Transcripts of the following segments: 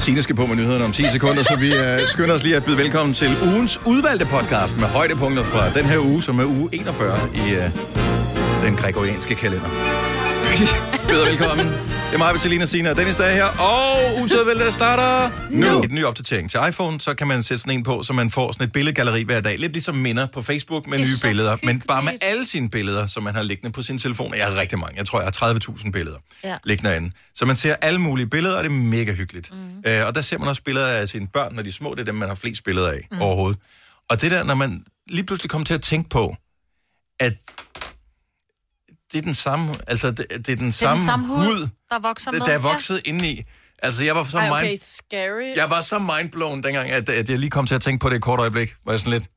Sine skal på med nyhederne om 10 sekunder, så vi øh, skynder os lige at byde velkommen til ugens udvalgte podcast med højdepunkter fra den her uge, som er uge 41 i øh, den gregorianske kalender. Vi byder velkommen. Det er mig, Bettelina Sina og Dennis, der er her. Og ugens udvalgte starter nu. Et ny opdatering til iPhone, så kan man sætte sådan en på, så man får sådan et billedgalleri hver dag. Lidt ligesom minder på Facebook med Det er nye så billeder. Men bare med hyggeligt. alle sine billeder, som man har liggende på sin telefon. Jeg har rigtig mange. Jeg tror, jeg har 30.000 billeder Ja. liggende derinde. Så man ser alle mulige billeder, og det er mega hyggeligt. Mm. Øh, og der ser man også billeder af sine børn, når de er små. Det er dem, man har flest billeder af mm. overhovedet. Og det der, når man lige pludselig kommer til at tænke på, at det er den samme, altså det, det er den Det er samme, den samme hud, hud, der vokser med. der er vokset ja. indeni. Altså, jeg var så Ej, okay, mind, scary. jeg var så mindblown dengang, at, at jeg lige kom til at tænke på det et kort øjeblik. Var jeg sådan lidt,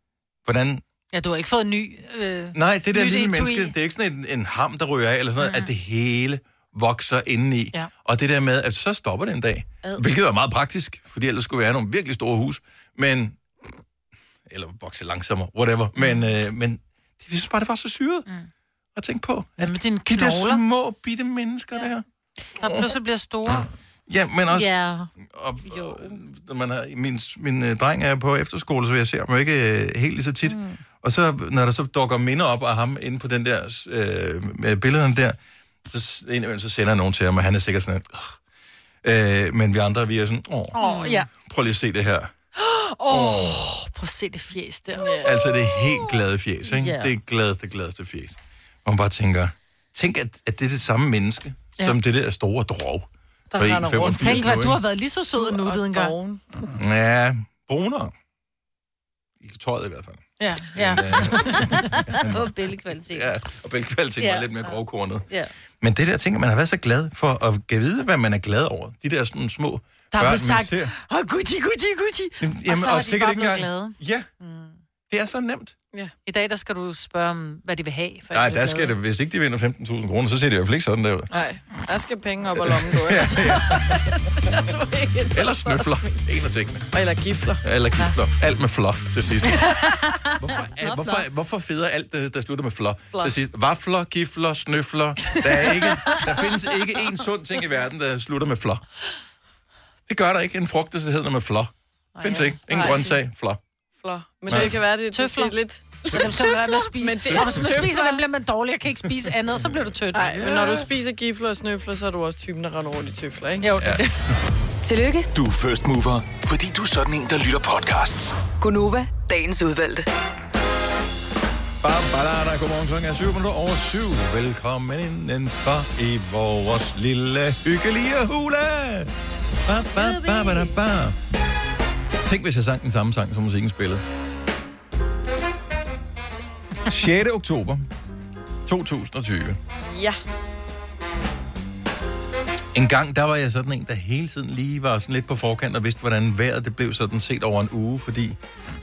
hvordan... Ja. ja, du har ikke fået en ny... Øh... Nej, det der Nyt lille etui. menneske, det er ikke sådan en, en ham, der ryger af, eller sådan noget, at det hele vokser indeni. Ja. Og det der med, at så stopper det en dag. Ad. Hvilket er meget praktisk, fordi ellers skulle vi have nogle virkelig store hus. Men... Eller vokse langsommere, whatever. Men, øh, men jeg synes bare, det var så syret. Mm. At tænke på, at Med dine de der knogler. små, bitte mennesker ja. der. Der pludselig bliver store. Ja, men også, Ja. og, Jo. og, når man har, min, min øh, dreng er på efterskole, så jeg ser ham jo ikke øh, helt lige så tit. Mm. Og så, når der så dukker minder op af ham inde på den der, øh, med billederne der, så, s- indimellem, så sender jeg nogen til ham, og han er sikkert sådan, at, øh, men vi andre, vi er sådan, åh, Åh, oh, ja. prøv lige at se det her. Oh, prøv at se det fjes der. Altså, det er helt glade fjes, ikke? Ja. Yeah. Det er gladeste, gladeste fjes. Og man bare tænker, tænk, at, at det er det samme menneske, Ja. ja. som det der store drog. Der på render 1,85 rundt. nu, Tænk, hvad ikke? du har været lige så sød og nuttet en gang. Ja, brunere. I tøjet i hvert fald. øh, Ja, ja. På billedkvalitet. Ja, og bælgkvaliteten ja. Ja. var lidt mere grovkornet. Ja. Men det der ting, at man har været så glad for at give vide, hvad man er glad over. De der sådan små Der er børn, blevet sagt, man ser. åh, oh, Gucci, Gucci, Gucci. Jamen, og så er de sikkert bare ikke blevet Mm. engang- Ja, det er så nemt. I dag, der skal du spørge om, hvad de vil have. For Nej, der skal det, hvis ikke de vinder 15.000 kroner, så ser det i hvert fald ikke sådan der ud. Nej, der skal penge op og lommen gå. Ja, ja. ikke? Eller snøfler, en af tingene. Eller gifler. Eller gifler. Alt med flå til sidst. Hvorfor, er, hvorfor, hvorfor federe alt, det, der slutter med flå? Flå. Til sidst, vafler, gifler, snøfler. Der, er ikke, der findes ikke en sund ting i verden, der slutter med flå. Det gør der ikke. En frugt, der hedder med flå. Findes ikke. Ingen Nej. grøntsag, flå. Flå. Men Nej. det kan være, det, det, det Tøfler. er lidt... Dem skal du lade med at spise. Men det er og hvis man tøfler. spiser dem, bliver man dårlig. Jeg kan ikke spise andet, og så bliver du tynd. Nej, men når du spiser gifler og snøfler, så er du også typen, der render rundt i tøfler, ikke? Jo, det er det. Tillykke, Du er first mover, fordi du er sådan en, der lytter podcasts. Gunova, dagens udvalgte. Bam, balada. Godmorgen, klokken er 7 minutter over 7. Velkommen indenfor i vores lille hyggelige hule. Ba, ba, ba, ba, da, ba. Tænk, hvis jeg sang den samme sang, som musikken spillede. 6. oktober 2020. Ja. En gang, der var jeg sådan en, der hele tiden lige var sådan lidt på forkant og vidste, hvordan vejret det blev sådan set over en uge, fordi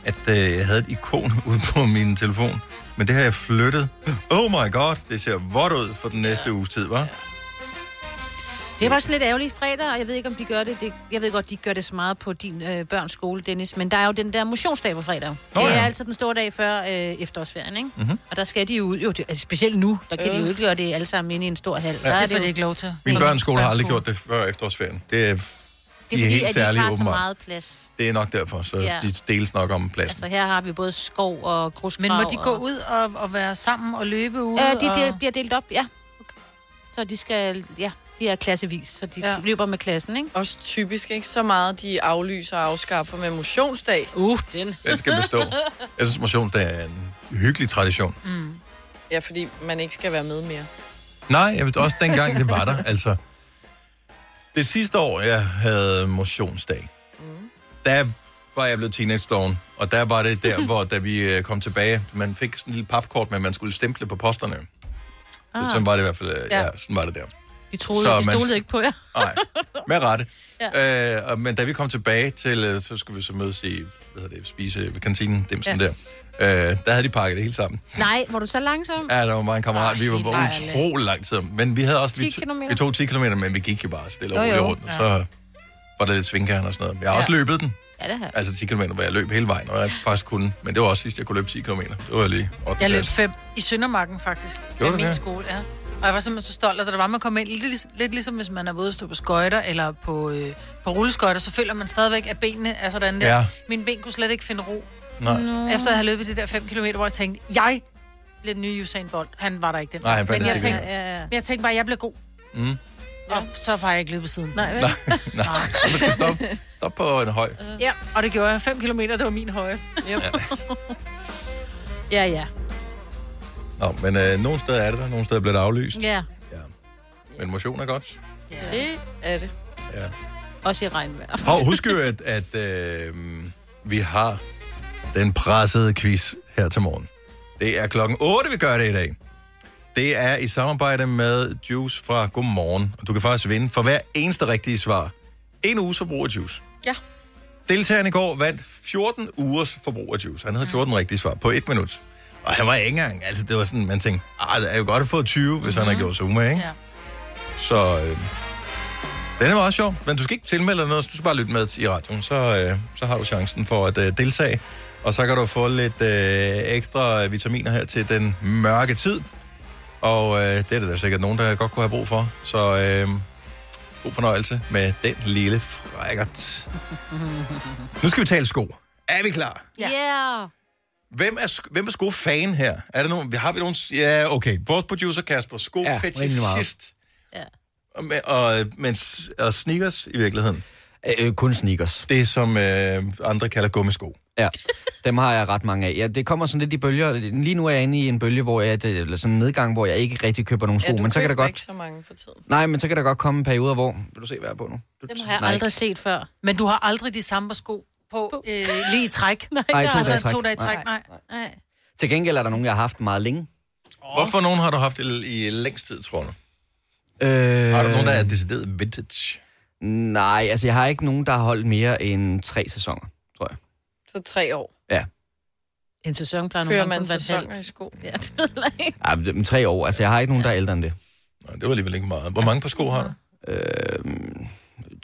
at øh, jeg havde et ikon ude på min telefon. Men det har jeg flyttet. Oh my god, det ser vådt ud for den næste uges tid, var? Det var sådan lidt ærgerligt fredag, og jeg ved ikke, om de gør det. det jeg ved godt, de gør det så meget på din øh, børns skole, Dennis, men der er jo den der motionsdag på fredag. Nå Nå, det er ja. Mhm. ja. altså den store dag før øh, efterårsferien, ikke? Mm-hmm. Og der skal de jo ud, jo, det, altså specielt nu, der kan øh. de jo ikke gøre det alle sammen inde i en stor hal. Ja. Der Nej, er det får det de jo, ikke lov til. Min Nå, børneskole har aldrig gjort børneskole. det før efterårsferien. Det er, det er de er fordi, helt at de særlige, ikke har så åbenbart. meget plads. det er nok derfor, så Ja. de deles nok om pladsen. Altså her har vi både skov og grusgrav. Men må de gå og- ud og, og være sammen og løbe ud? Ja, de, og... de bliver delt op, ja. Så de skal, ja, de er klassevis, så de Ja. ja. løber med klassen, ikke? Også typisk ikke så meget, de aflyser og afskaffer med motionsdag. Uh, den. Den skal bestå. Jeg synes, motionsdag er en hyggelig tradition. Ja, fordi man ikke skal være med mere. Nej, jeg ved også dengang det var der. Altså, det sidste år, jeg havde motionsdag, der var jeg blevet teenage og der var det der, hvor da vi øh, kom tilbage, man fik sådan en lille papkort med, at man skulle stemple på posterne. Ah. Så sådan var det i hvert fald, øh, ja. Ja. ja, sådan var det der. De troede, Så de man- stolede ikke på jer. Nej, med rette. ja. øh, og- men da vi kom tilbage til, øh, så skulle vi så mødes i, hvad hedder det, spise ved kantinen, dem sådan ja. der. Øh, der havde de pakket det hele sammen. Nej, var du så langsom? Ja, der var meget en kammerat. vi var bare utrolig lang tid. om. Men vi havde også... 10 vi, to- kilometer. vi tog 10 km, men vi gik jo bare stille og Jo, roligt jo. rundt. Og så var der lidt svingkærn og sådan noget. Men jeg har også løbet den. Ja, det her. Altså 10 km, hvor jeg løb hele vejen, og jeg faktisk kunne. Men det var også sidst, jeg kunne løbe 10 km. Det var lige 8. Jeg løb fem i Søndermarken, faktisk. Gjorde med du min det? skole, ja. Og jeg var simpelthen så stolt, altså, der var, man kom ind lidt, lig- lidt ligesom, hvis man er ude at stå på skøjter eller på, øh, på rulleskøjter, så føler man stadigvæk, at benene er sådan der. Ja. Mine ben kunne slet ikke finde ro. Nej. Efter at have løbet de der 5 km, hvor jeg tænkte, jeg blev den nye Usain Bolt. Han var der ikke den. Nej, han fandt Men jeg ikke tænkte, Ja, ja, ja. men jeg tænkte bare, at jeg blev god. Mm. Og så har jeg ikke løbet siden. Nej, vel? Nej, du skal stoppe. Stop på en høj. Ja, og det gjorde jeg. 5 km, det var min høje. Ja, ja. Nå, men øh, nogle steder er det der, nogle steder bliver det aflyst. Ja, Men motion er godt. Det er det. Ja. også i regnvejr. Hov, husk jo, at, at øh, vi har den pressede quiz her til morgen. Det er klokken 8, vi gør det i dag. Det er i samarbejde med Juice fra Godmorgen. Og du kan faktisk vinde for hver eneste rigtige svar. En uges forbrug af Juice. Ja. Deltageren i går vandt 14 ugers forbrug af Juice. Han havde 14 rigtige svar på et minut. Og han var ikke engang, altså det var sådan, man tænkte, ah, det er jo godt at få 20, hvis mm-hmm. han har gjort sig umage, ikke? Ja. Så øh, den er meget sjov, men du skal ikke tilmelde dig noget, du skal bare lytte med i radioen, så, øh, så har du chancen for at øh, deltage. Og så kan du få lidt øh, ekstra vitaminer her til den mørke tid. Og øh, det er der da sikkert nogen, der godt kunne have brug for. Så øh, god fornøjelse med den lille frækkert. Nu skal vi tale sko. Er vi klar? Ja. Yeah. Hvem er, sk- hvem er skofan her? Er der nogen, har vi nogen... Ja, okay. Vores producer Kasper, rimelig meget. skofetishist. Ja. Og, med- og, men, s- og sneakers i virkeligheden. Øh, kun sneakers. Det, som øh, andre kalder gummisko. Ja, dem har jeg ret mange af. Ja, det kommer sådan lidt i bølger. Lige nu er jeg inde i en bølge, hvor jeg, det- eller sådan en nedgang, hvor jeg ikke rigtig køber nogen sko. Ja, du men så kan der køber godt, ikke så mange for tiden. Nej, men så kan der godt komme perioder, hvor... Vil du se, hvad jeg er på nu? Dem har jeg Nej, aldrig set før. Men du har aldrig de samme sko på øh, lige i træk. Nej, Nej, to altså, dage i træk. to dage i træk. Nej. Nej. Til gengæld er der nogen, jeg har haft meget længe. Hvorfor nogen har du haft i, i længst tid, tror du? Øh, Har har du nogen, der er decideret vintage? Nej, altså jeg har ikke nogen, der har holdt mere end tre sæsoner, tror jeg. Så tre år En sæson plejer nogle kører gange man kun at være sæsoner i et halvt. sko. Ja, det ved jeg ikke. Ja, men det- men tre år. Altså jeg har ikke nogen, der er ældre end det. Nå, det var alligevel ikke meget. Hvor mange par sko har du? Øh,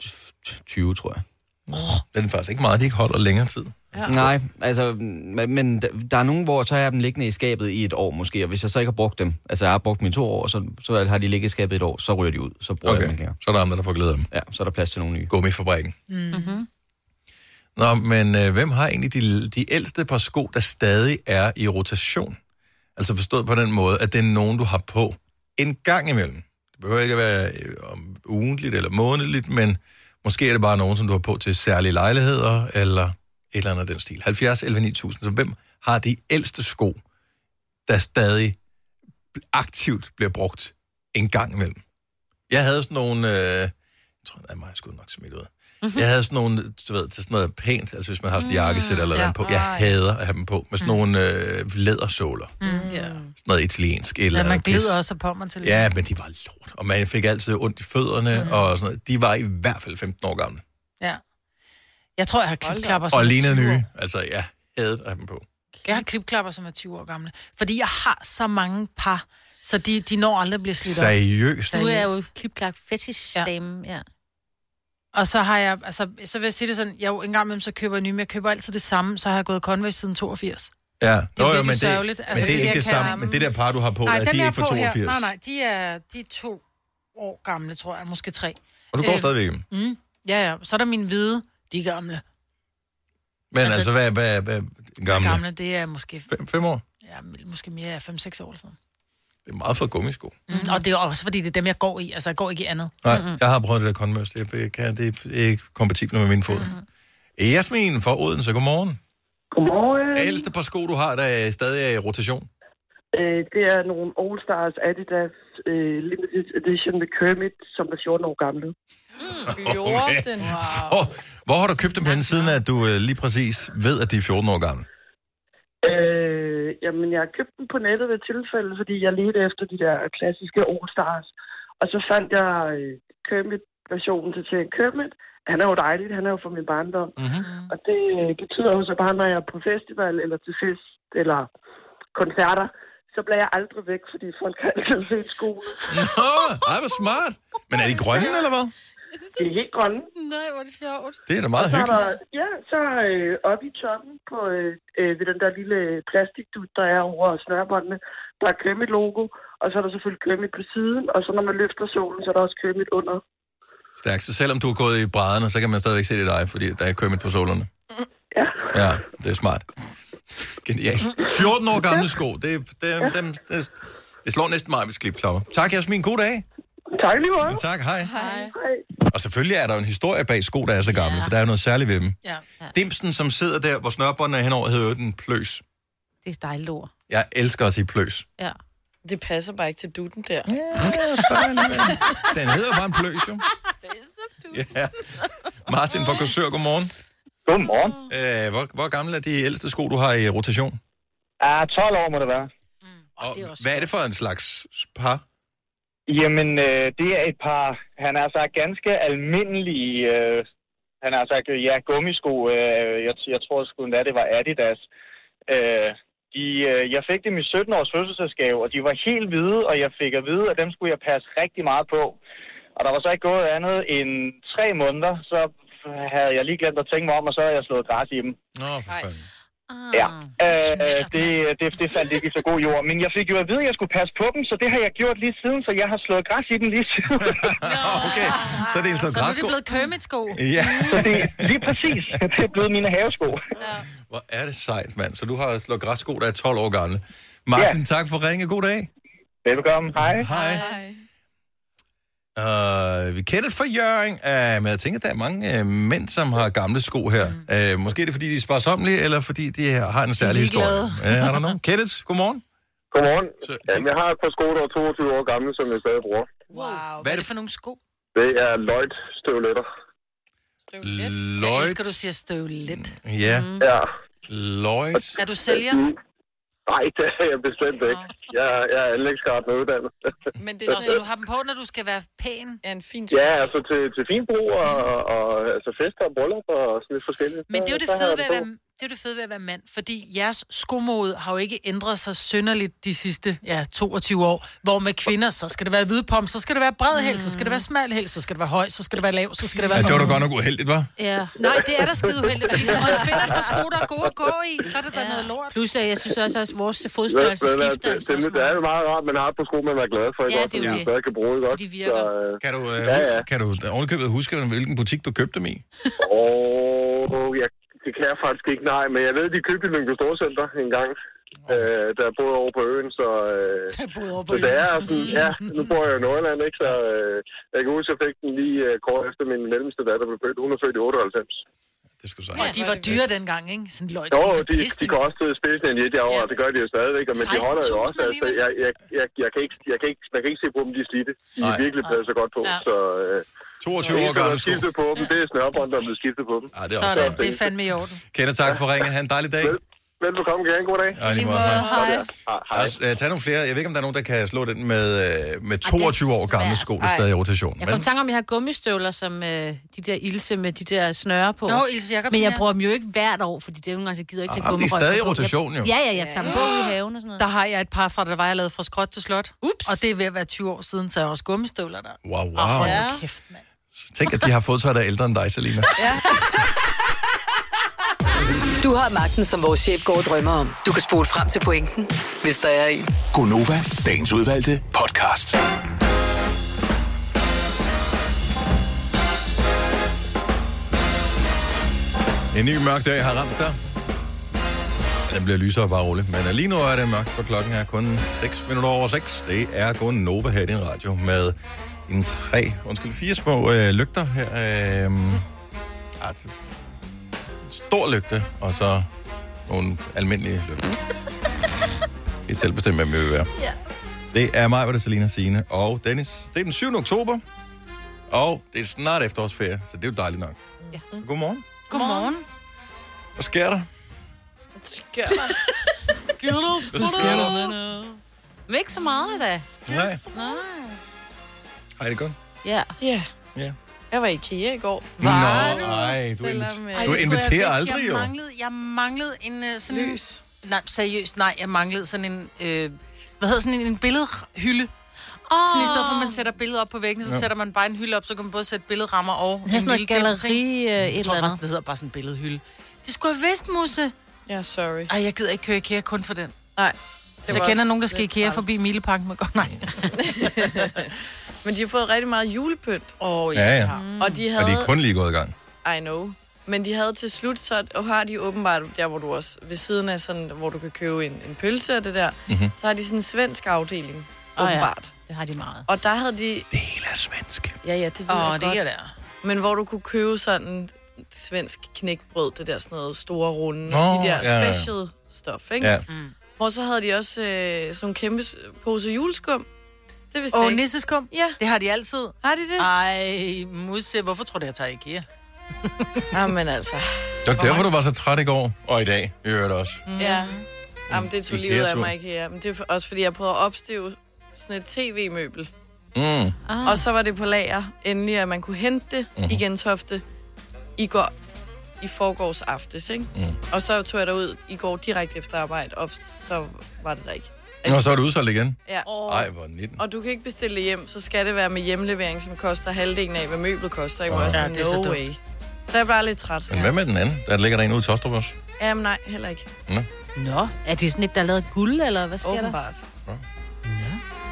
t- t- 20, tror jeg. Det er faktisk ikke meget, de ikke holder længere tid. Ja. Nej, altså, men men d- der er nogen, hvor så har jeg dem liggende i skabet i et år måske, og hvis jeg så ikke har brugt dem, altså jeg har brugt mine to år, så, så har de ligget i skabet i et år, så ryger de ud, så bruger okay. jeg Okay, dem ikke længere. så er der andre, der får glæde af dem. Ja, så er der plads til nogle nye. Gummifabrikken. Mm-hmm. Mhm. Nå, men øh, hvem har egentlig de, de ældste par sko, der stadig er i rotation? Altså forstået på den måde, at det er nogen, du har på en gang imellem. Det behøver ikke at være øh, om ugentligt eller månedligt, men måske er det bare nogen, som du har på til særlige lejligheder, eller et eller andet af den stil. 70, 11, 9000. Så hvem har de ældste sko, der stadig aktivt bliver brugt en gang imellem? Jeg havde sådan nogle... Øh, jeg tror, at mig skulle nok smidt ud. Mm-hmm. Jeg havde sådan nogle, du ved, til sådan noget pænt, altså hvis man har sådan en jakkesæt eller noget ja. på. Jeg hader at have dem på, med sådan nogle øh, lædersåler. Sådan Ja. noget italiensk et eller Mm. andet. Ja, man pis. glider også på man til Ja, men de var lort, og man fik altid ondt i fødderne mm. og sådan noget. De var i hvert fald 15 år gamle, ja. Jeg tror, jeg har klipklapper som og er lignede 20 år. nye. Altså, jeg havde at have dem på. Jeg har klipklapper, som er 20 år gamle. Fordi jeg har så mange par, så de, de når aldrig at blive slidt op. Seriøst. Du er jo Seriøst. klipklagt fetish-dame, ja. ja. Og så har jeg, altså, så vil jeg sige det sådan, jeg er jo engang imellem, så køber jeg nye, men jeg køber altid det samme, så har jeg gået Converse siden 82. Ja, Det er Nå, jo, virkelig men det, sørgeligt. men Altså, det er det ikke jeg det kan- samme. Men det der par, du har på, nej, er, de dem, er jeg ikke fra på 82. Her, nej, nej, de er, de er to år gamle, tror jeg, måske tre. Og du går Øh, stadigvæk i dem. Ja, ja, så er der min hvide, de er gamle. Men altså, altså hvad, hvad, hvad gamle? Gamle, det er måske, Fem, fem år? ja, måske mere 5-6 år siden. Det er meget for gummisko. Mm. Og det er også, fordi det er dem, jeg går i. Altså, jeg går ikke i andet. Nej, mm-hmm. jeg har prøvet det der Converse. Det er, kan, det er ikke kompatibelt med min fod. Mm-hmm. Jasmin fra Odense, godmorgen. Godmorgen. Ældste par sko, du har, der er stadig er i rotation. Øh, det er nogle All Stars Adidas øh, Limited Edition med Kermit, som er 14 år gamle. Okay. 14. Wow. Hvor, hvor har du købt dem hen, siden at du øh, lige præcis ved, at de er 14 år gamle? Øh, jamen, jeg købte dem på nettet ved tilfælde, fordi jeg ledte efter de der klassiske All Stars. Og så fandt jeg øh, Kermit-versionen til til Kermit. Han er jo dejligt, han er jo fra min barndom. Mm-hmm. Og det øh, betyder jo så bare, når jeg er på festival eller til fest eller koncerter, så bliver jeg aldrig væk, fordi folk har altid set skoene. Nå, ej, hvor smart. Men er de grønne, eller hvad? De er helt grønne. Nej, hvor er det sjovt. Det er da meget Så er hyggeligt. der, ja, så øh, oppe i toppen på, øh, øh, ved den der lille plastikdut, der er over snørbåndene, der er Kermit-logo, Og så er der selvfølgelig kømmit på siden, og så når man løfter solen, så er der også kømmit under. Stærkt. Så selvom du er gået i brædderne, så kan man stadigvæk se dit eje, fordi der er kømmet på solerne. Ja. Ja, det er smart. Genialt. 14 år gamle sko. Det, det, dem, det, det slår næsten mig, hvis klipklapper. Tak, Jasmin. God dag. Tak lige meget. Tak, hej. Hej. Hej. Og selvfølgelig er der jo en historie bag sko, der er så gamle, ja. for der er jo noget særligt ved dem. Ja. Dimsen, som sidder der, hvor snørbåndene er henover, hedder jo den pløs. Det er et dejligt ord. Jeg elsker at sige pløs. Ja. Det passer bare ikke til dutten der. Den hedder bare en pløs, jo. Ja. Martin fra Korsør, godmorgen. Godmorgen. Øh, hvor, hvor gamle er de ældste sko, du har i rotation? Ja, 12 år må det være. Mm. Og det er også hvad er det for en slags par? Jamen, øh, det er et par, han har sagt, ganske almindelige, øh, han har sagt, ja, gummisko. Øh, jeg, jeg tror sgu endda, det var Adidas. Øh, de, øh, jeg fik dem i 17-års fødselsdagsgave, og de var helt hvide, og jeg fik at vide, at dem skulle jeg passe rigtig meget på. Og der var så ikke gået andet end tre måneder, så havde jeg lige glemt at tænke mig om, og så havde jeg slået græs i dem. Nå, for fanden. Ah, Ja, øh, knallert, det, mand. det, det faldt ikke i så god jord. Men jeg fik jo at vide, at jeg skulle passe på dem, så det har jeg gjort lige siden, så jeg har slået græs i dem lige siden. Okay, så er det en slags Så nu er det græsko. blevet Kermit-sko. Ja, Så det lige præcis, det er blevet mine havesko. hvor er det sejt, mand. Så du har slået græssko, der er 12 år gamle. Martin, ja. tak for ringe. God dag. Velkommen, hej. Hej. Hej. Uh, vi kender det fra Jørgen, uh, men jeg tænker, at der er mange uh, mænd, som har gamle sko her. Mm. Uh, måske er det, fordi de er sparsomlige, eller fordi de har en særlig historie. Uh, I don't know. Kenneth, godmorgen. Godmorgen. Så, Jamen, jeg har et par sko, der er 22 år gamle, som jeg stadig bruger. Wow. Hvad, Hvad er Hvad er det det for nogle sko? Det er Lloyd støvletter. Jeg Lloyd. elsker, du siger støvlet. Ja, mm. Ja. Lloyd. Er du sælger? Mm. Nej, det er jeg bestemt ikke. Jeg, er- jeg er anlægsgart med uddannet. Men det Nå, er Altså- så sådan du har dem på, når du skal være pæn. en, en fin Ja, altså til, til finbrug og, og altså fester og bryllup og sådan lidt forskelligt. Men det er Øh, Så- jo det så har fede jeg ved at dem på. være, det er jo det fede ved at være mand, fordi jeres skomode har jo ikke ændret sig synderligt de sidste ja, 22 år, hvor med kvinder, så skal det være hvidpom, så skal det være bred hæl, så skal det være smal hæl, så skal det være høj, så skal det være lav, så skal det være... Mm. Ja, det var da godt nok uheldigt, var? Ja. Nej, det er da skide uheldigt, fordi hvis man finder et par sko, der er gode at gå i, så er det da noget lort. Plus, at jeg synes også, at vores Ved- fodstørrelse ved- ved- skifter det, altså det, også det, er meget. jo meget rart, man har et par sko, man er glad for. Ja, ikke? det er jo Som man det. stadig kan bruge, ikke? også? de virker. Så, øh, Kan du, uh, Ja, ja. kan du ovenikøbet huske, hvilken butik du købte dem i? øh, Åh, jeg, det kan jeg faktisk ikke, nej. Men jeg ved, de købte i Lyngby Storcenter en gang, øh, der boede over på øen, så... Øh, Jeg boede over på så det er sådan, ja, nu bor jeg jo i Nordjylland, ikke? Så øh, jeg kan huske, at jeg fik den lige øh, kort efter min mellemste datter blev født. Hun er født i 98. Det skulle Og de var dyre dengang, ikke? Sådan løjt. Jo, de, de kostede spidsen en lidt i år, og det gør de jo stadigvæk, og- men de holder jo 16.000 også. Altså, jeg, jeg, jeg, jeg, kan ikke, jeg, kan ikke, man kan ikke se på dem, de er slidte. De er Nej. virkelig blevet så godt på, Ja. så øh, det 22 eneste, der år gamle er sko. skiftet på dem, det er snørbånd, der er blevet skiftet på dem. Ej, det er også Sådan, altså. godt. det er fandme i orden. Kenneth, tak for ringen. Ha' en dejlig dag. Vel, velbekomme, gerne god dag. Ej, lige måde. Hej. Hej. Altså, øh, tag nogle flere. Jeg ved ikke, om der er nogen, der kan slå den med, øh, med 22 år gamle svært. sko, der stadig er i rotation. Jeg Men kom i tanke om, at jeg har gummistøvler, som øh, de der ilse med de der snøre på. Nå, Ilse Jacobsen, Men jeg ja. bruger dem jo ikke hvert år, fordi det er jo nogle gange, så gider jeg ikke til Ah, de er gummirøjser stadig i på. Jeg- rotation, jo. Ja, ja, jeg tager dem på ude i haven og sådan noget. Der har jeg et par fra, der var jeg lavet fra skråt til slot. Ups. Og det er ved at være 20 år siden, så jeg har også gummistøvler der. wow, wow. Hold nu kæft, mand. Tænk, at de har fået tøj, der er ældre end dig, Selina. Du har magten, som vores chef går og drømmer om. Du kan spole frem til pointen, hvis der er en. Gonova, dagens udvalgte podcast. En ny mørk dag har ramt dig. Ja, Den bliver lysere bare roligt. Men lige nu er det mørkt, for klokken er kun 6 minutter over 6. Det er kun Nova her i din radio med en tre, undskyld, fire små øh, lygter her. Øh, ah, det- en stor lygte, og så nogle almindelige lygter. I selv bestemme, hvem vi vil være. Ja. Det er mig, hvor det er Selina Signe og Dennis. Det er den 7. oktober, og det er snart efterårsferie, så det er jo dejligt nok. Ja. Godmorgen. Godmorgen. Hvad sker der? skør. Hvad sker der? Men ikke så meget, da. Nej. Nej. Hej, det er godt. Ja. Ja. Ja. Jeg var i IKEA i går. Nå, nej, du, Selvom, invit- øh, Ej, du det skulle jeg inviterer have vidst. aldrig, jeg jo. Manglede, jeg manglede en øh, sådan Lys. En, nej, seriøst, nej, jeg manglede sådan en, øh, hvad hedder sådan en, en billedhylde. Oh. Åh, Sådan i stedet for, at man sætter billeder op på væggen, så sætter man bare en hylde op, så kan man både sætte billedrammer og det er sådan en noget lille dims, ikke? galeri øh, et Jeg eller tror faktisk, andet. det hedder bare sådan en billedhylde. Det skulle jeg vidst, Musse. Ja, sorry. Ej, jeg gider ikke køre IKEA kun for den. Nej, Det så jeg kender nogen, der skal IKEA forbi Mileparken. Men godt, nej. Men de har fået rigtig meget julepynt. Åh, Mm. Ja, ja. Og de havde... Og det er kun lige gået i gang. I know. Men de havde til slut, så og har de åbenbart, der hvor du også, ved siden af sådan, hvor du kan købe en, en pølse og det der, Mhm. mm-hmm. så har de sådan en svensk afdeling, Åh, ja. åbenbart. Det har de meget. Og der havde de... Det hele er svensk. Ja, ja, det ved Åh, jeg det godt. er der. Men hvor du kunne købe sådan svensk knækbrød, det der sådan noget store runde, Nå, de der ja, ja. special stuff, ikke? Ja. Mm. Hvor så havde de også øh, sådan nogle kæmpe s- pose juleskum. Det vidste Åh, jeg ikke. nisseskum? Ja. Det har de altid. Har de det? Ej, musse, hvorfor tror du, jeg tager IKEA? Jamen altså. Det var derfor, du var så træt i går, og i dag, i øvrigt også. Mm. Ja. Jamen, det tog livet af Ikea-tur. mig ikke her. Men det er for- også, fordi jeg prøvede at opstøve sådan et tv-møbel. Mm. Ah. Og så var det på lager, endelig, at man kunne hente det Mhm. mm-hmm. i Gentofte i går, i forgårs aftes, ikke? Mm. Og så tog jeg derud i går direkte efter arbejde, og så var det der ikke. Nå, så er du udsolgt igen. Ja. Ej, hvor 19. Og du kan ikke bestille det hjem, så skal det være med hjemlevering, som koster halvdelen af, hvad møblet koster. Ikke? Ah. Også, Ja, ja, det det er no så så dumt. way. Så jeg var lidt træt. Men hvad med den anden? Der ligger der en ude i Tostrup også. Jamen nej, heller ikke. Nå. Nå, er det sådan et, der er lavet af guld, eller hvad sker Åbenbart. der?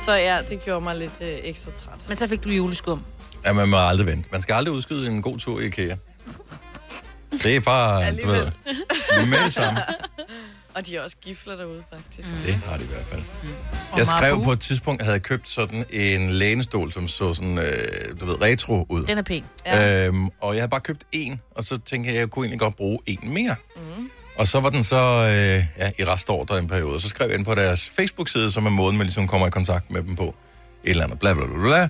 Så ja, det gjorde mig lidt øh, ekstra træt. Men så fik du juleskum. Ja, man må aldrig vente. Man skal aldrig udskyde en god tur i IKEA. Det er bare, du ved, med det samme. Og de er også gifler derude, faktisk. Mm. Det har de i hvert fald. Jeg skrev på et tidspunkt, at jeg havde købt sådan en lænestol, som så sådan, øh, du ved, retro ud. Den er pæn. Ja. Øhm, og jeg havde bare købt en, og så tænkte jeg, at jeg kunne egentlig godt bruge en mere. Mm. Og så var den så øh, ja, i restordre en periode, og så skrev jeg ind på deres Facebook-side, som er måden, man ligesom kommer i kontakt med dem på. Et eller andet, bla bla bla bla.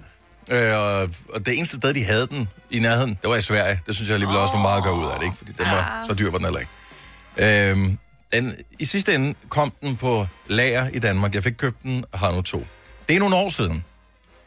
Øh, og, og det eneste sted, de havde den i nærheden, det var i Sverige. Det synes jeg alligevel også var meget godt ud af det, ikke? Fordi den var, så dyr var den heller ikke. Øhm, den, I sidste ende kom den på lager i Danmark. Jeg fik købt den og har nu to. Det er nogle år siden.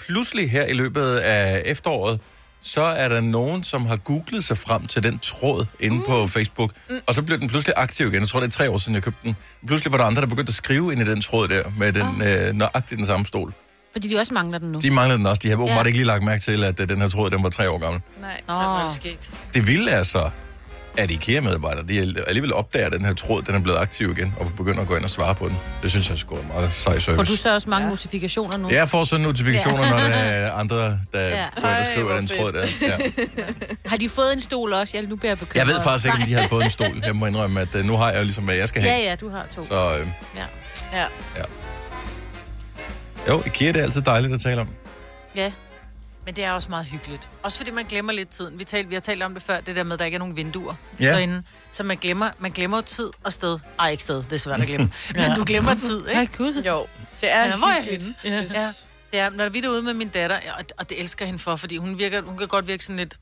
Pludselig her i løbet af efteråret, så er der nogen, som har googlet sig frem til den tråd inde mm. på Facebook, mm. og så blev den pludselig aktiv igen. Jeg tror, det er tre år siden, jeg købte den. Pludselig var der andre, der begyndte at skrive ind i den tråd der, med den, øh, nøjagtigt den samme stol. Fordi de også mangler den nu. De manglede den også. De havde åbenbart Ja. ikke lige lagt mærke til, at øh, den her tråd, den var tre år gammel. Mm. Nej, Nå. hvor er det sket. Det vilde er så, at IKEA-medarbejdere de alligevel opdager, at den her tråd den er blevet aktiv igen, og begynder at gå ind og svare på den. Det synes jeg skulle er meget sej Får service. du så også mange ja. notifikationer nu? Jeg får så notifikationer, Ja. når der er andre, der, Ja. ja. der skriver Ej, den hvor tråd der. Ja. Har de fået en stol også? Jeg, nu bliver jeg bekymret. Jeg ved faktisk ikke, om de Nej. havde fået en stol. Jeg må indrømme, at øh, nu har jeg jo ligesom, hvad jeg skal have. Ja, ja, du har to. Så øh, Ja. Ja. jo, IKEA det er altid dejligt at tale om. Ja. Men det er også meget hyggeligt. Også fordi man glemmer lidt tiden. Vi, tal, vi har talt om det før, det der med, at der ikke er nogen vinduer Ja. derinde. Så man glemmer, man glemmer jo tid og sted. Ej, ikke sted, det er svært at glemme. Men du glemmer tid, ikke? Nej, gud. Jo, det er ja, hvor er jeg hyggeligt. henne? Yes. Ja. Det er, når vi er derude med min datter, og, og det elsker hende for, fordi hun, virker, hun kan godt virke sådan lidt...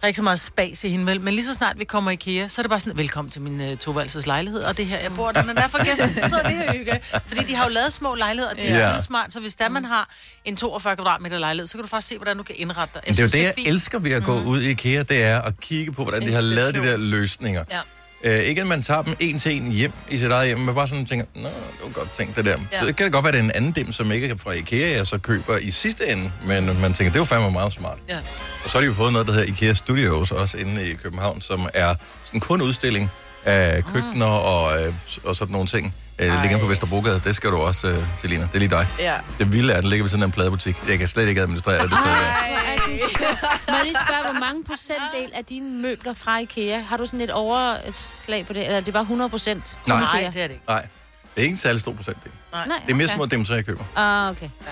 Der er ikke så meget spas i hende, vel? Men lige så snart vi kommer i IKEA, så er det bare sådan, velkommen til min uh, toværelses lejlighed, og det er her, jeg bor, den er der for gæster, så sidder vi her og hygger. Fordi de har jo lavet små lejligheder, og det er Ja. yeah. smart, så hvis der man har en 42 kvadratmeter lejlighed, så kan du faktisk se, hvordan du kan indrette dig. Men det er jo synes, det, jeg fint. Mm. elsker ved at gå ud i IKEA, det er at kigge på, hvordan de har lavet de der løsninger. Ja. Øh, ikke at man tager dem en til en hjem i sit eget hjem, men bare sådan tænker, nå, det var godt tænkt det der. Ja. Ja. Så det kan det godt være, at det er en anden dem, som ikke er fra IKEA, jeg så køber i sidste ende, men man tænker, det var fandme meget smart. Ja. Og så har de jo fået noget, der hedder IKEA Studios, også inde i København, som er sådan kun udstilling Ah. af køkkener og, øh, og sådan nogle ting. Øh, Det ligger inde på Vesterbrogade, det skal du også, øh, Selina, det er lige dig. Ja. Det vilde er, at den ligger ved sådan en pladebutik. Jeg kan slet ikke administrere det. stadigvæk. Ej, hvor er du sød. Må jeg lige spørge, hvor mange procentdel af dine møbler fra IKEA, har du sådan et overslag på det? Eller er det bare 100 procent? Nej. Nej, det er det ikke. Nej, det er ikke en særlig stor procentdel. Nej. Det er mere små dem, som jeg køber. Ah, okay. Ja.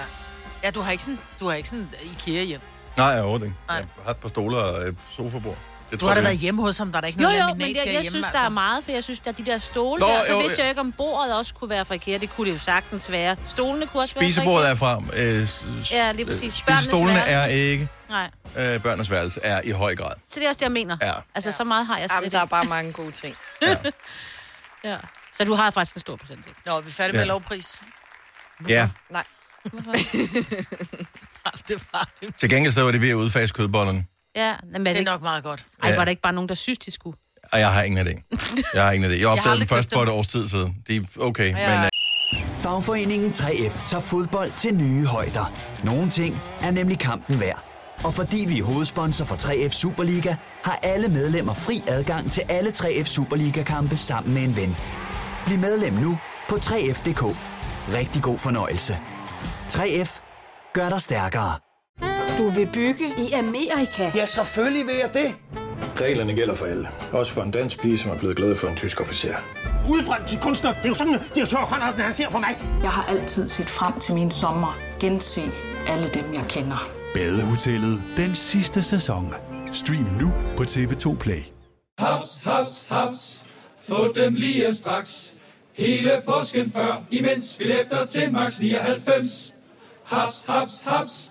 ja, du har ikke sådan, du har ikke sådan IKEA hjem. Nej, jeg overhovedet ikke. Jeg har et par stoler og et sofabord. Det Du har da jeg- været hjemme hos ham, der er da ikke Jo, noget jo, laminat men jeg, jeg derhjemme, synes, altså. der er meget, for jeg synes, der er de der stole Nå, der, så jo, vidste jo. jeg ikke, om bordet også kunne være fra IKEA. Det kunne det jo sagtens være. Stolene kunne også Spisebordet være er fra. Øh, s- s- Ja, lige præcis. øh, Børnenes Spisestolene værelse. er ikke. Nej, Øh, børnenes værelse er i høj grad. så det er også det, jeg mener. Ja. Altså, så meget har jeg slet Jamen, der er bare mange gode ting. Ja. ja. Så du har faktisk en stor procentdel. Nå, er vi færdige med Ja. lovpris? Mhm. Ja. Nej. det var det. Til gengæld så var det ved at udfase kødbollerne. Ja, men Det er nok meget godt. Ej, var Ja. der ikke bare nogen, der synes, de skulle? Og jeg har ingen idé. Jeg har ingen idé. Jeg opdagede aldrig dem først købt dem. for et års tid siden. De er okay, Ja. men... Øh, Fagforeningen 3F tager fodbold til nye højder. Nogle ting er nemlig kampen værd. Og fordi vi er hovedsponsor for 3F Superliga, har alle medlemmer fri adgang til alle 3F Superliga-kampe sammen med en ven. Bliv medlem nu på 3F.dk. Rigtig god fornøjelse. 3F gør dig stærkere. Du vil bygge i Amerika? Ja, selvfølgelig vil jeg det. Reglerne gælder for alle. Også for en dansk pige, som er blevet glad for en tysk officer. Udbrændt til kunstner. Det er jo sådan, at de har Conradsen, han ser på mig. Jeg har altid set frem til min sommer. Gense alle dem, jeg kender. Badehotellet den sidste sæson. Stream nu på TV2 Play. Haps, haps, haps. Få dem lige straks. Hele påsken før, imens billetter til max 99. Haps, haps, haps.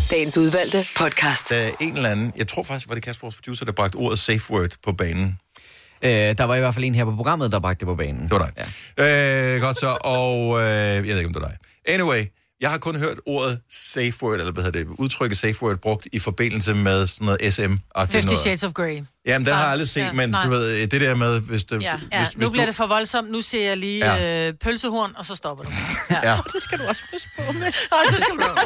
dagens udvalgte podcast. Der er en eller anden, jeg tror faktisk, var det Kasper, vores producer, der bragte ordet safe word på banen. Øh, der var i hvert fald en her på programmet, der bragte det på banen. Det var dig. Ja. Øh, godt så, og øh, jeg ved ikke, om det er dig. Anyway, jeg har kun hørt ordet safe word, eller hvad hedder det, udtrykket safe word, brugt i forbindelse med sådan noget SM. Og Fifty Shades of Grey. Jamen, den har jeg aldrig set, Ja, ja, men nej. du ved, det der med, hvis det... Ja, hvis, ja. hvis nu bliver du, det for voldsomt. Nu ser jeg lige Ja. ja. øh, pølsehorn, og så stopper du. Ja. det skal du også passe på med. og så skal du,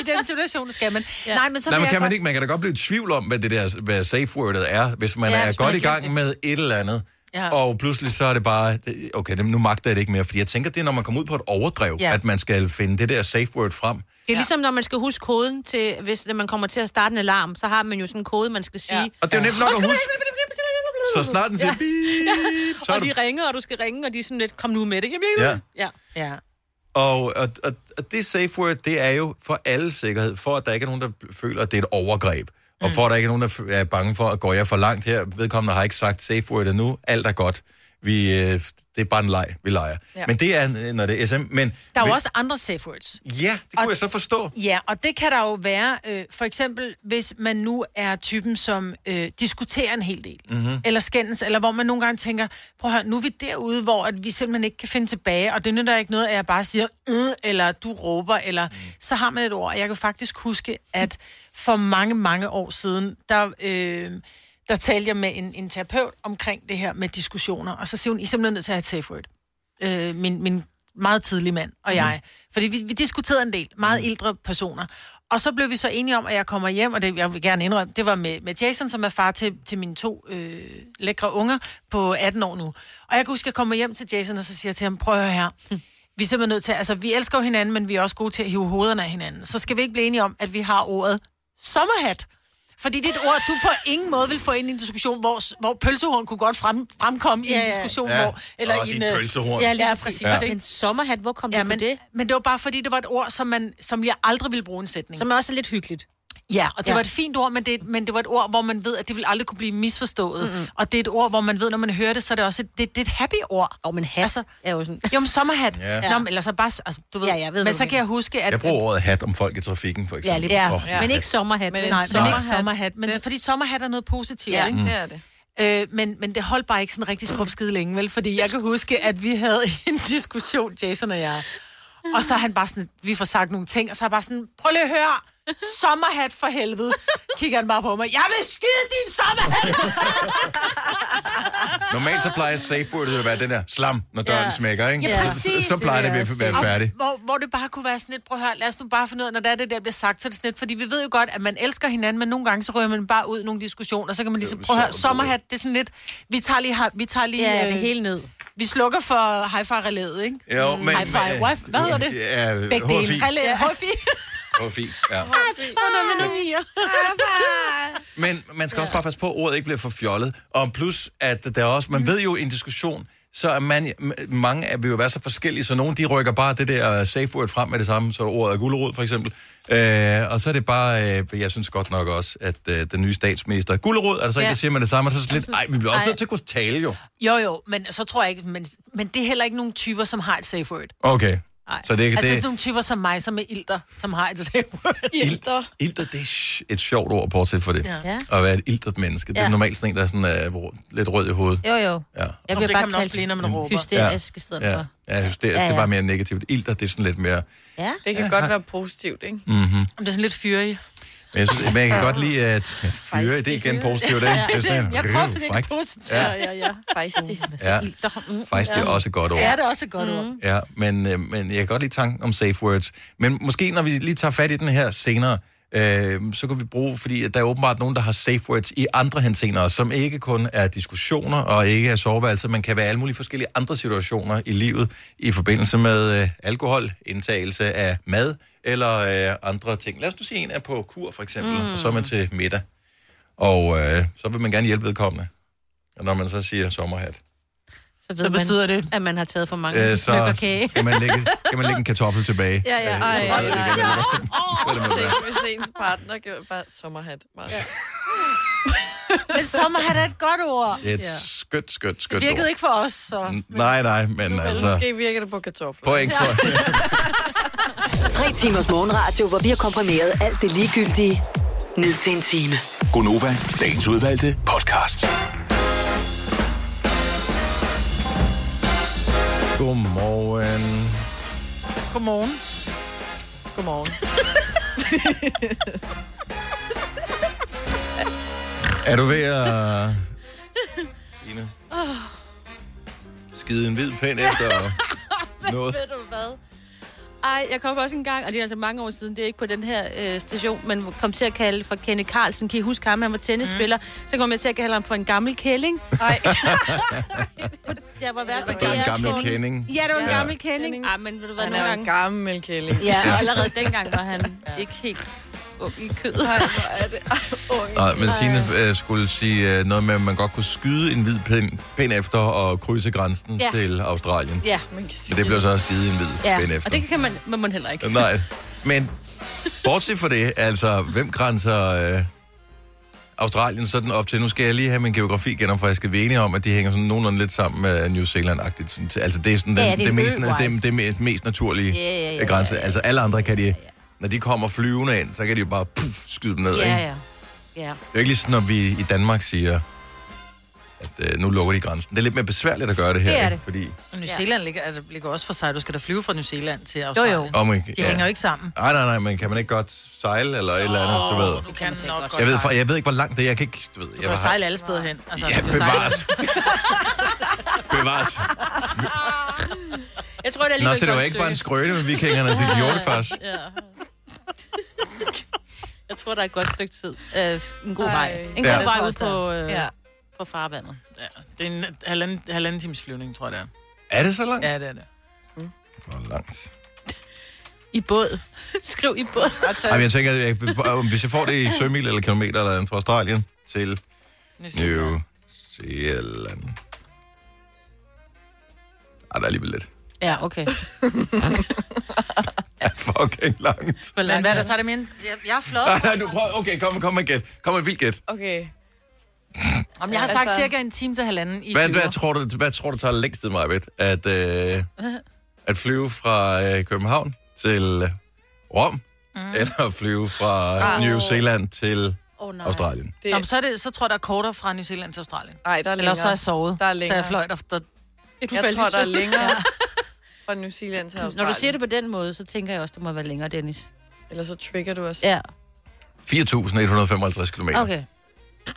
I den situation skal man. Ja. Nej, men så Nej, vil men jeg kan man godt- ikke, man kan da godt blive i tvivl om, hvad det der, hvad safe wordet er, hvis man Ja, ja, er hvis man godt har i gang glemt med et eller andet. Ja. Ja. Og pludselig så er det bare, det- okay, nu magter jeg det ikke mere, fordi jeg tænker, det er, når man kommer ud på et overdrev, Ja. ja. at man skal finde det der safe word frem. Det er ligesom, når man skal huske koden til, hvis når man kommer til at starte en alarm, så har man jo sådan en kode, man skal sige. Ja. Og det er jo nemt nok at huske. Så Uh. snart den siger bip, så Ja. er Og de du- ringer, og du skal ringe, og de er sådan lidt, kom nu med det. Jamen, Ja. ja. ja. ja. Og, og, og, og det safe word, det er jo for alle sikkerhed, for at der ikke er nogen, der føler, at det er et overgreb. Og Mm. for at der ikke er nogen, der f- er bange for, at går jeg for langt her, vedkommende har ikke sagt safe word endnu, alt er godt. Vi, øh, det er bare en leg, vi leger. Ja. Ja. Men det er, øh, når det er SM. Men Der er jo vi- også andre safe words. Ja, det kunne Og- jeg så forstå. Ja, og det kan der jo være, øh, for eksempel, hvis man nu er typen, som øh, diskuterer en hel del, Mhm. mm-hmm. eller skændes, eller hvor man nogle gange tænker, prøv at høre, nu er vi derude, hvor at vi simpelthen ikke kan finde tilbage, og det nytter ikke noget, at jeg bare siger, øh, eller du råber, eller mm. så har man et ord. Jeg kan faktisk huske, at for mange, mange år siden, der... Øh, der talte jeg med en, en terapeut omkring det her med diskussioner, og så siger hun, I er simpelthen nødt til at have et safe word øh, min, min meget tidlige mand og Mhm. jeg. Fordi vi, vi diskuterede en del, meget ældre personer. Og så blev vi så enige om, at jeg kommer hjem, og det jeg vil gerne indrømme, det var med, med Jason, som er far til, til mine to øh, lækre unger på 18 år nu. Og jeg kan huske, at jeg kommer hjem til Jason, og så siger jeg til ham, prøv at høre her. Vi er simpelthen nødt til, altså vi elsker jo hinanden, men vi er også gode til at hive hovederne af hinanden. Så skal vi ikke blive enige om, at vi har ordet sommerhat. Fordi det er et ord, du på ingen måde vil få ind i en diskussion, hvor, hvor pølsehorn kunne godt frem, fremkomme ja, Ja, i en ja. diskussion, Ja. hvor... Eller Åh, i dit en, øh, pølsehorn. Ja, lige præcis. Ja. Ja. Men sommerhat, hvor kom ja, du men... det? Men det var bare fordi, det var et ord, som, man, som jeg aldrig ville bruge i en sætning. Som også er lidt hyggeligt. Ja, og det Ja. ja. var et fint ord, men det, men det var et ord, hvor man ved, at det vil aldrig kunne blive misforstået. Mm-mm. Mm-hmm. Og det er et ord, hvor man ved, når man hører det, så er det også et, det, det er et happy ord. Og men hat altså, er jo sådan... Jo, men sommerhat. Ja. Ja. Nå, men ellers så bare, altså, du ved. Ja, jeg ved men hvad så du kan jeg huske, at... Jeg bruger ordet hat om folk i trafikken, for eksempel. Ja, lige ja. Åh, ja. Men ikke sommerhat. Men vel? nej, men ikke sommerhat. Men, fordi sommerhat er noget positivt, Ja, Mm. ikke? det er det. Øh, men, men det holdt bare ikke sådan rigtig skrubskide længe, vel? Fordi jeg kan huske, at vi havde en diskussion, Jason og jeg. Og så er han bare sådan, vi får sagt nogle ting, og så er jeg bare sådan, prøv lige at høre, sommerhat for helvede. Kigger han bare på mig, jeg vil skide din sommerhat! Normalt så plejer safe wordet at være den der slam, når døren Ja. smækker, ikke? Ja, så, præcis. så plejer det at være færdigt. Og Hvor, hvor det bare kunne være sådan lidt, prøv at høre, lad os nu bare finde ud af, når der er det der bliver sagt, så er det sådan lidt, fordi vi ved jo godt, at man elsker hinanden, men nogle gange så rører man bare ud i nogle diskussioner, så kan man ligesom, prøv at høre, sommerhat, det er sådan lidt, vi tager lige, har- vi tager lige øh, Ja, det er helt ned. Vi slukker for high five relæet, ikke? Jo, men- Mm, High five, men- wife, hvad hedder det? Ja, øh, Begge dele. HFI. Relæ, HFI. Det var fint, ja. Hvornår med nogle Men man skal også bare passe på, at ordet ikke bliver for fjollet. Og plus, at der er også, Mm. man ved jo i en diskussion, så er man, m- mange af vil jo være så forskellige, så nogen de rykker bare det der safe word frem med det samme, så ordet er gulerod for eksempel. Øh, og så er det bare, øh, jeg synes godt nok også, at øh, den nye statsminister, gulerod, altså ikke, Ja. der siger man det samme, og så er det sådan lidt, nej, vi bliver også Ej. nødt til at kunne tale jo. Jo, jo, men så tror jeg ikke, men, men det er heller ikke nogen typer, som har et safe word. Okay. Nej. Så det- altså, det er det- sådan nogle typer som mig, som er ilter, som har et sabrød. Ilter? Ilter, det er sj- et sjovt ord, bortset for det. Ja. At være et iltert menneske. Det er Ja. normalt sådan en, der er sådan, uh, lidt rød i hovedet. Jo, jo. Ja. Jeg det bliver kan bare man også kaldt blive, når man råber. hysterisk i stedet ja. for. Ja, hysterisk, ja, Ja, ja. det er ja. bare mere negativt. Ilter, det er sådan lidt mere... Ja. Det kan Ja, godt hej. være positivt, ikke? Mm-hmm. Det er sådan lidt fyrig. Men jeg, synes, men jeg kan godt lide, at ja, fyre, det er igen positivt. Ikke? Det er sådan, Jeg prøver at finde frækt. det positive. Ja. ja, ja. Fejstig. Ja. Faktisk, det er også et godt ord. Ja, det er også et godt ord. Ja, men, øh, men jeg kan godt lide tanken om safe words. Men måske, når vi lige tager fat i den her senere, øh, så kan vi bruge, fordi at der er åbenbart nogen, der har safe words i andre henseender, som ikke kun er diskussioner og ikke er soveværelser, men kan være alle mulige forskellige andre situationer i livet i forbindelse med øh, alkohol, indtagelse af mad eller øh, andre ting. Lad os nu sige, en er på kur for eksempel, mm. og så er man til middag, og øh, så vil man gerne hjælpe vedkommende. Og når man så siger sommerhat, Så, ved Så betyder man, det? at man har taget for mange øh, øh, stykker så kage. skal man, lægge, skal man lægge en kartoffel tilbage. Ja, ja. Ej, Øh, ej, hvad det ej. måtte være. Tænk, hvis ens partner gjorde bare sommerhat. Bare. Men sommerhat er et godt ord. Det er et skønt, skønt, Det skønt virkede ord. Mm. ikke for os, så... N- Nej, nej, men Altså... altså... Måske virker det på kartofler. Point for... Tre timers morgenradio, hvor vi har komprimeret alt det ligegyldige ned til en time. Gonova, dagens udvalgte podcast. Godmorgen. Godmorgen. Godmorgen. Er du ved at... Signe, Oh. skide en hvid pind efter noget? Ved du hvad? Ej, jeg kom også en gang, og det er altså mange år siden, det er ikke på den her øh, station, men kom til at kalde for Kenneth Carlsen. Kan I huske ham? Han var tennisspiller. Mm. Så kom jeg til at kalde ham for en gammel kælling. Nej. jeg var hvert Forstår en gammel kending. Ja, det var en Ja. gammel kending. Ja, men ved du hvad, Han nogle er jo gange... en gammel kælling. Ja, og allerede dengang var han ikke helt ung i kødet. Nej, hvor er det Ah, ung. Nej, men Signe øh, skulle sige øh, noget med, at man godt kunne skyde en hvid pind, pind efter og krydse grænsen Ja. til Australien. Ja, man kan Men det blev så også skide en hvid pind Ja, efter. og det kan man, man må heller ikke. Nej, men bortset fra det, altså, hvem grænser øh, Australien sådan op til? Nu skal jeg lige have min geografi genopfrisket. Vi er enige om, at de hænger sådan nogenlunde lidt sammen med New Zealand-agtigt. Sådan, til- altså, det er sådan den, Ja, det er det, mest, ø-wise. det, det mest, mest naturlige Ja, ja, ja, øh, grænse. Altså, alle andre kan de, når de kommer flyvende ind, så kan de jo bare puff, skyde dem ned, Ja, ikke? ja. Ja. Det er jo ikke ligesom, når vi i Danmark siger, at øh, nu lukker de grænsen. Det er lidt mere besværligt at gøre det her, Det er ikke? det. fordi... Og New Zealand ligger, er, det ligger også for sig. Du skal da flyve fra New Zealand til Jo, Australien. jo. Oh my- De ja. hænger jo ikke sammen. Nej, nej, nej, men kan man ikke godt sejle eller et eller andet, du ved? Du kan nok godt Jeg ved, sejle. for, jeg ved ikke, hvor langt det er. Jeg kan ikke... Du ved, Du jeg kan jo har- sejle alle steder hen. Altså, Ja, du kan sejle- bevares. Bevares. Jeg tror, det er Nå, så det var ikke bare en skrøne med vikingerne, de gjorde det faktisk. Ja. Jeg tror, der er et godt stykke tid. Øh, en god vej. En god Ja. vej ud Det tror jeg på, også, der øh, er. ja. Ja. på farvandet. Ja, det er en halvanden, halvanden times flyvning, tror jeg, det er. Er det så langt? Ja, det er det. Hvor langt? I båd. Skriv i båd. Ej, men jeg tænker, at jeg, hvis jeg får det i sømil eller kilometer eller andet fra Australien til New Zealand. Ej, der er alligevel lidt. Ja, okay. Ja, fucking langt. Men hvad Ah. er der tager det med? ind? Jeg, jeg er flot. Ej, nej, du prøver. Okay, kom, kom med et gæt. Kom med et vildt gæt. Okay. Om jeg har sagt cirka en time til halvanden i Hvad, flyver. hvad, tror du, hvad tror du tager længst tid, Majbet? At, øh, at flyve fra øh, København til Rom? Mm. Eller at flyve fra Ah. New Zealand til Australien? Det... Nå, men så, er det, så tror jeg, der er kortere fra New Zealand til Australien. Nej, der er Eller længere. så er jeg sovet, Der er da længere. jeg fløj der. der... Jeg tror, der er længere fra New Zealand til Når Australien. du siger det på den måde, så tænker jeg også, det må være længere, Dennis. Ellers så trigger du os. Ja. 4.155 km. Okay.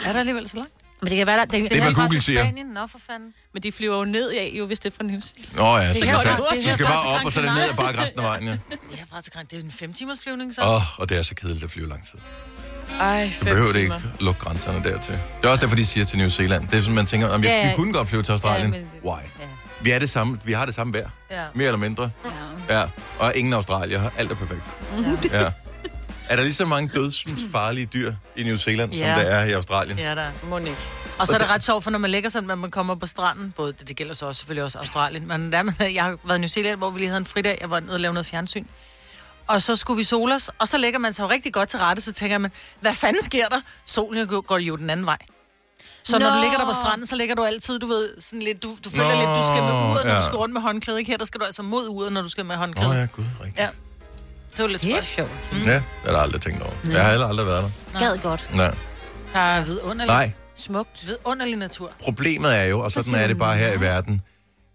Er der alligevel så langt? Men det kan være, der... Den, Det er, hvad Google siger. Nå, for fanden. Men de flyver jo ned af, jo, hvis det er fra New Zealand. Nå ja, så Det det kan kan jo fandme- godt- det du kan skal jo bare godt op, og så er det tanke ned og bare resten af vejen, ja. Ja, fra til Gran- Det er en fem timers flyvning, så. Åh, oh, og det er så kedeligt at flyve lang tid. Ej, Du fem behøver det timer. ikke lukke grænserne dertil. Det er også derfor, de siger til New Zealand. Det er sådan, man tænker, om Ja, ja, ja. vi kunne godt flyve til Australien. Ja, Ja, men- Why? Vi, er det samme, vi har det samme vejr. Ja. Mere eller mindre. Ja. Og ingen australier. Alt er perfekt. Ja. Er der lige så mange dødsfarlige dyr i New Zealand, som Ja. der er i Australien? Ja, der er. Monique. Og så er det ret sjovt, for når man lægger sådan, at man kommer på stranden, både det, det gælder så også, selvfølgelig også Australien, men der, med- jeg har været i New Zealand, hvor vi lige havde en fridag, jeg var nede og lave noget fjernsyn. Og så skulle vi sole os, og så lægger man sig jo rigtig godt til rette, så tænker man, hvad fanden sker der? Solen går jo den anden vej. Så når du Nå. ligger der på stranden, så ligger du altid, du ved, sådan lidt, du, du føler Nå, lidt, du skal med uret, når ja. du skal rundt med håndklæde. Ikke her, der skal du altså mod uret, når du skal med håndklæde. Åh oh, ja, gud, rigtigt. Ja. Det var lidt det er sjovt. Mm. Ja, det har jeg aldrig tænkt over. Jeg har heller aldrig været der. Gad godt. Nej. Der er vidunderlig. Nej. Smukt. Vidunderlig natur. Problemet er jo, og sådan er det bare her i verden,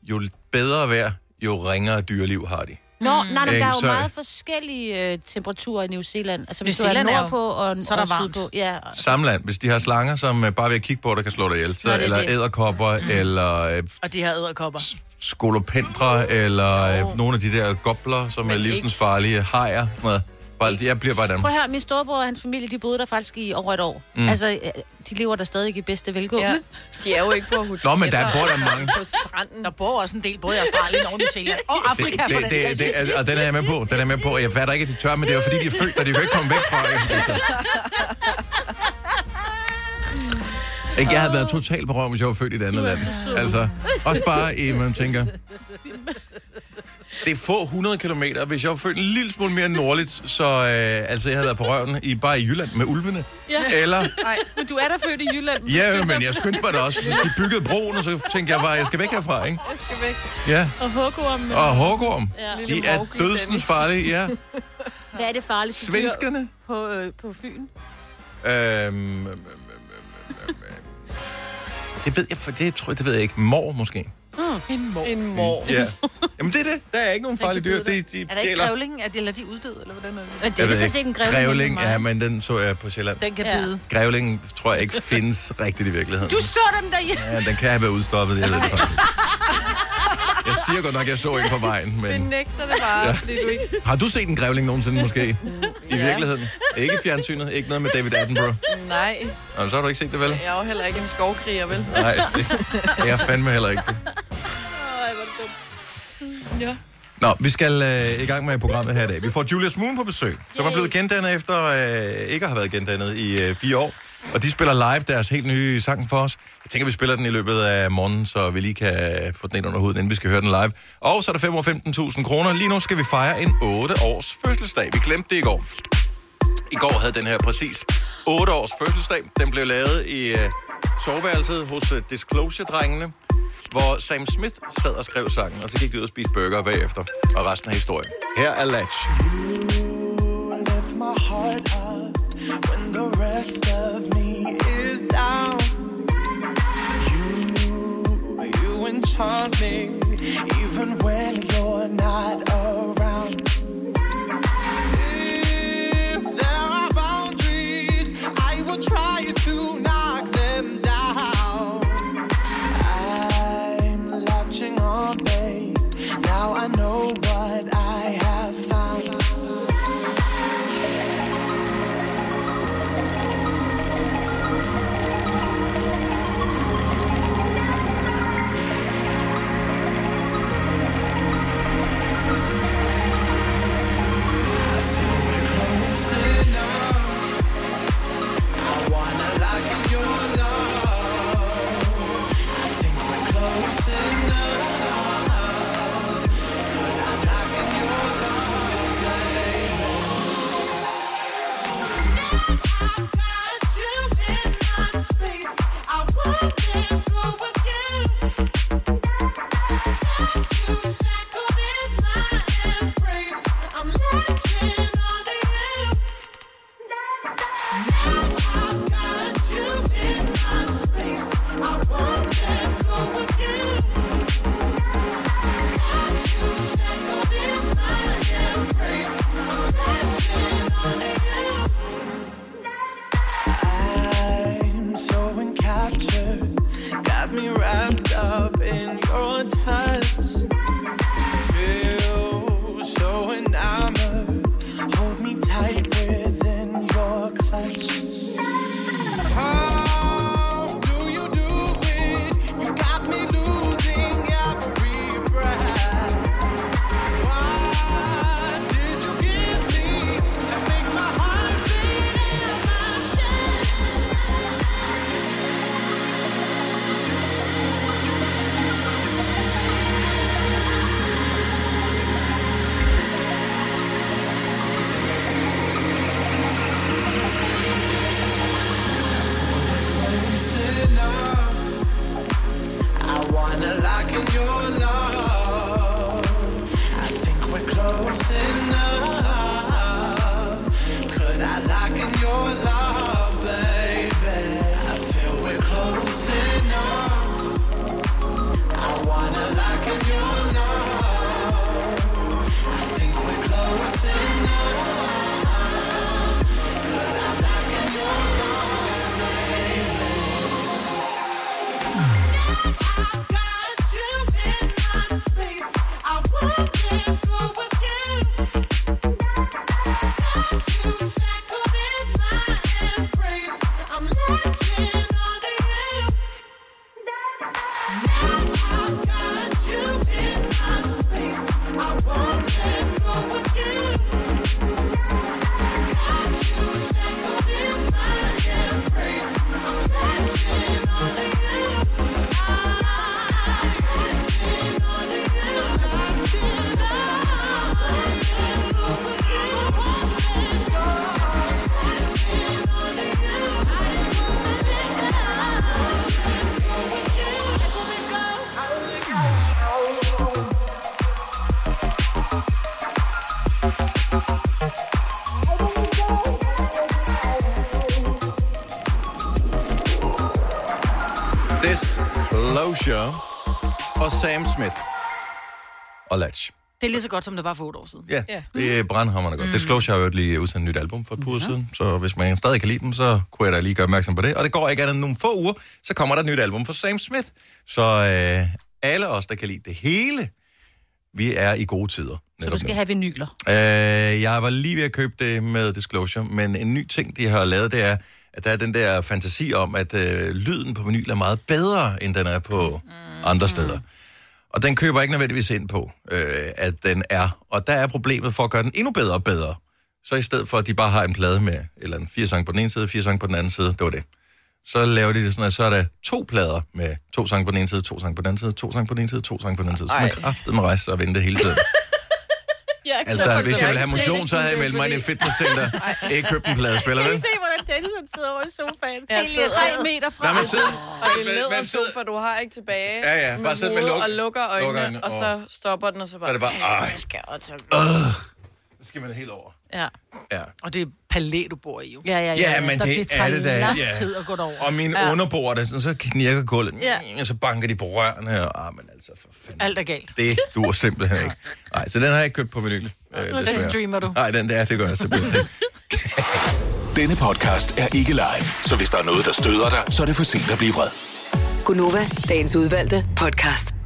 jo bedre vejr, jo ringere dyreliv har de. Nå, mm. nej, men der er jo Ikke, så- meget forskellige øh, temperaturer i New Zealand. Altså, New hvis New Zealand Zealand er du jo- er nordpå og, så er der og varmt. sydpå. Ja, Samland, hvis de har slanger, som øh, bare ved at kigge på dig kan slå dig ihjel, så, Nå, det er eller det. æderkopper, mm. eller øh, Og de her æderkopper. skolopendre, eller øh, nogle af de der gobler, som er livsensfarlige, hajer, sådan noget. Bare, jeg bliver bare i Prøv Danmark. at høre, min storebror og hans familie, de boede der faktisk i over et år. Mm. Mm. Altså, øh, de lever der stadig i bedste velgående. Ja. De er jo ikke på hotel. Nå, men der bor der mange. På stranden. Der bor også en del, både i Australien og New Zealand. Og Afrika, for det, den det, sags det, skyld. det, og den er jeg med på, den er jeg med på, og jeg fatter ikke, at de tør, men det er jo fordi, de er født, og de kan jo ikke komme væk fra det. Altså. Ikke, jeg havde været totalt på røven, hvis jeg var født i et andet land. Altså, også bare, i, man tænker, det er få 100 kilometer. Hvis jeg var født en lille smule mere nordligt, så øh, altså, jeg havde været på røven i, bare i Jylland med ulvene. Ja. Eller Nej, men du er der født i Jylland. Ja, men jeg skyndte mig da også. De byggede broen, og så tænkte jeg bare, jeg skal væk herfra, ikke? Jeg skal væk. Ja. Og øh, hukum. Og hårgorm, Ja. de er dødsens farlige, ja. Hvad er det farligste dyr Svenskerne? På, øh, på Fyn? Øhm, øhm, øhm, øhm, øhm, øhm. det ved jeg, for det, tror jeg, det ved jeg ikke. Mor måske. Mm. En mor. En mor. Ja. Jamen det er det. Der er ikke nogen farlige dyr. Det, de Er der ikke gælder- grævlingen? Er de, eller er de uddøde, eller hvordan er det? Men Jeg ved Grævling, ja, men den så jeg på Sjælland. Den kan bide. Grævlingen tror jeg ikke findes rigtigt i virkeligheden. Du så den derhjemme. Ja, den kan have været udstoppet, jeg ved det faktisk. ikke. Jeg siger godt nok, at jeg så en på vejen, men... nægter det bare, Ja. fordi du ikke... Har du set en grævling nogensinde måske? I virkeligheden? Ikke i fjernsynet? Ikke noget med David Attenborough? Nej, Nå, så har du ikke set det, vel? jeg er jo heller ikke en skovkriger, vel? Nej, det, det er fandme heller ikke det. Ja. Nå, vi skal øh, i gang med programmet her i dag. Vi får Julius Moon på besøg, som er blevet gendannet efter øh, ikke at have været gendannet i øh, fire år. Og de spiller live deres helt nye sang for os. Jeg tænker, vi spiller den i løbet af morgenen, så vi lige kan få den ind under huden, inden vi skal høre den live. Og så er der 515.000 kroner. Lige nu skal vi fejre en 8-års fødselsdag. Vi glemte det i går. I går havde den her præcis 8 års fødselsdag. Den blev lavet i øh, soveværelset hos øh, Disclosure-drengene, hvor Sam Smith sad og skrev sangen, og så gik de ud og spiste burger bagefter. Og resten af historien. Her er Latch. left my heart up when the rest of me is down. You, you enchant me even when you're not around. If there are boundaries, I will try to knock them down. I'm latching on, babe. Now I know what I have found. I'm so encaptured, got me wrapped up in your touch. Feel so enamored, hold me tight within your clutch. How do you do it? You got me losing every breath. Why did you give me to make my heart beat in my chest? Disclosure og Sam Smith og Latch. Det er lige så godt, som det var for otte år siden. Ja, det er brandhammerne godt. Mm. Disclosure har jo lige udsendt et nyt album for et par uger siden, så hvis man stadig kan lide dem, så kunne jeg da lige gøre opmærksom på det. Og det går ikke andet end nogle få uger, så kommer der et nyt album for Sam Smith. Så øh, alle os, der kan lide det hele, vi er i gode tider. Så du skal have vinyler. Øh, jeg var lige ved at købe det med Disclosure, men en ny ting, de har lavet, det er, at der er den der fantasi om, at øh, lyden på vinyl er meget bedre, end den er på mm. andre steder. Og den køber jeg ikke nødvendigvis ind på, øh, at den er. Og der er problemet for at gøre den endnu bedre og bedre. Så i stedet for, at de bare har en plade med eller en fire sange på den ene side, fire sange på den anden side, det var det. Så laver de det sådan, at så er der to plader med to sange på den ene side, to sange på den anden side, to sange på den ene side, to sange på den anden side. Så man Ej. kraftedeme rejse sig og vente hele tiden. Jeg er Altså, glad for, hvis at jeg du ville have ikke kan motion, så lide havde jeg meldt mig ind i et fordi- fitnesscenter. Ej. Ikke købt en pladespiller, Kan vel? I se, hvordan Dennis han sidder over i sofaen? Ja, Helt sidder- tre meter fra. Nej, men sidder- Og det Men- leder men sidder- sofa, du har ikke tilbage. Ja, ja, bare sidde med hovedet luk- Og lukker øjnene, lukker lukker øjnene, og så stopper den, og så bare... Så er det bare, ej. Jeg skal også... Øh, så skal man helt over. Ja. Ja. Og det er palæ, du bor i, jo. Ja, Ja, ja men Der- det, tager er det da. lang ja. tid at gå derover. Og min ja. ja. underbord, der sådan, så knirker gulvet, Ja. ja. og så banker de på rørene. Og, ah, men altså, for Alt er galt. det duer simpelthen ikke. Nej, så den har jeg ikke købt på vinyl. Øh, Den desværre. streamer du. Nej, den der, det gør jeg simpelthen ikke. Denne podcast er ikke live, så hvis der er noget, der støder dig, så er det for sent at blive vred. Gunova, dagens udvalgte podcast.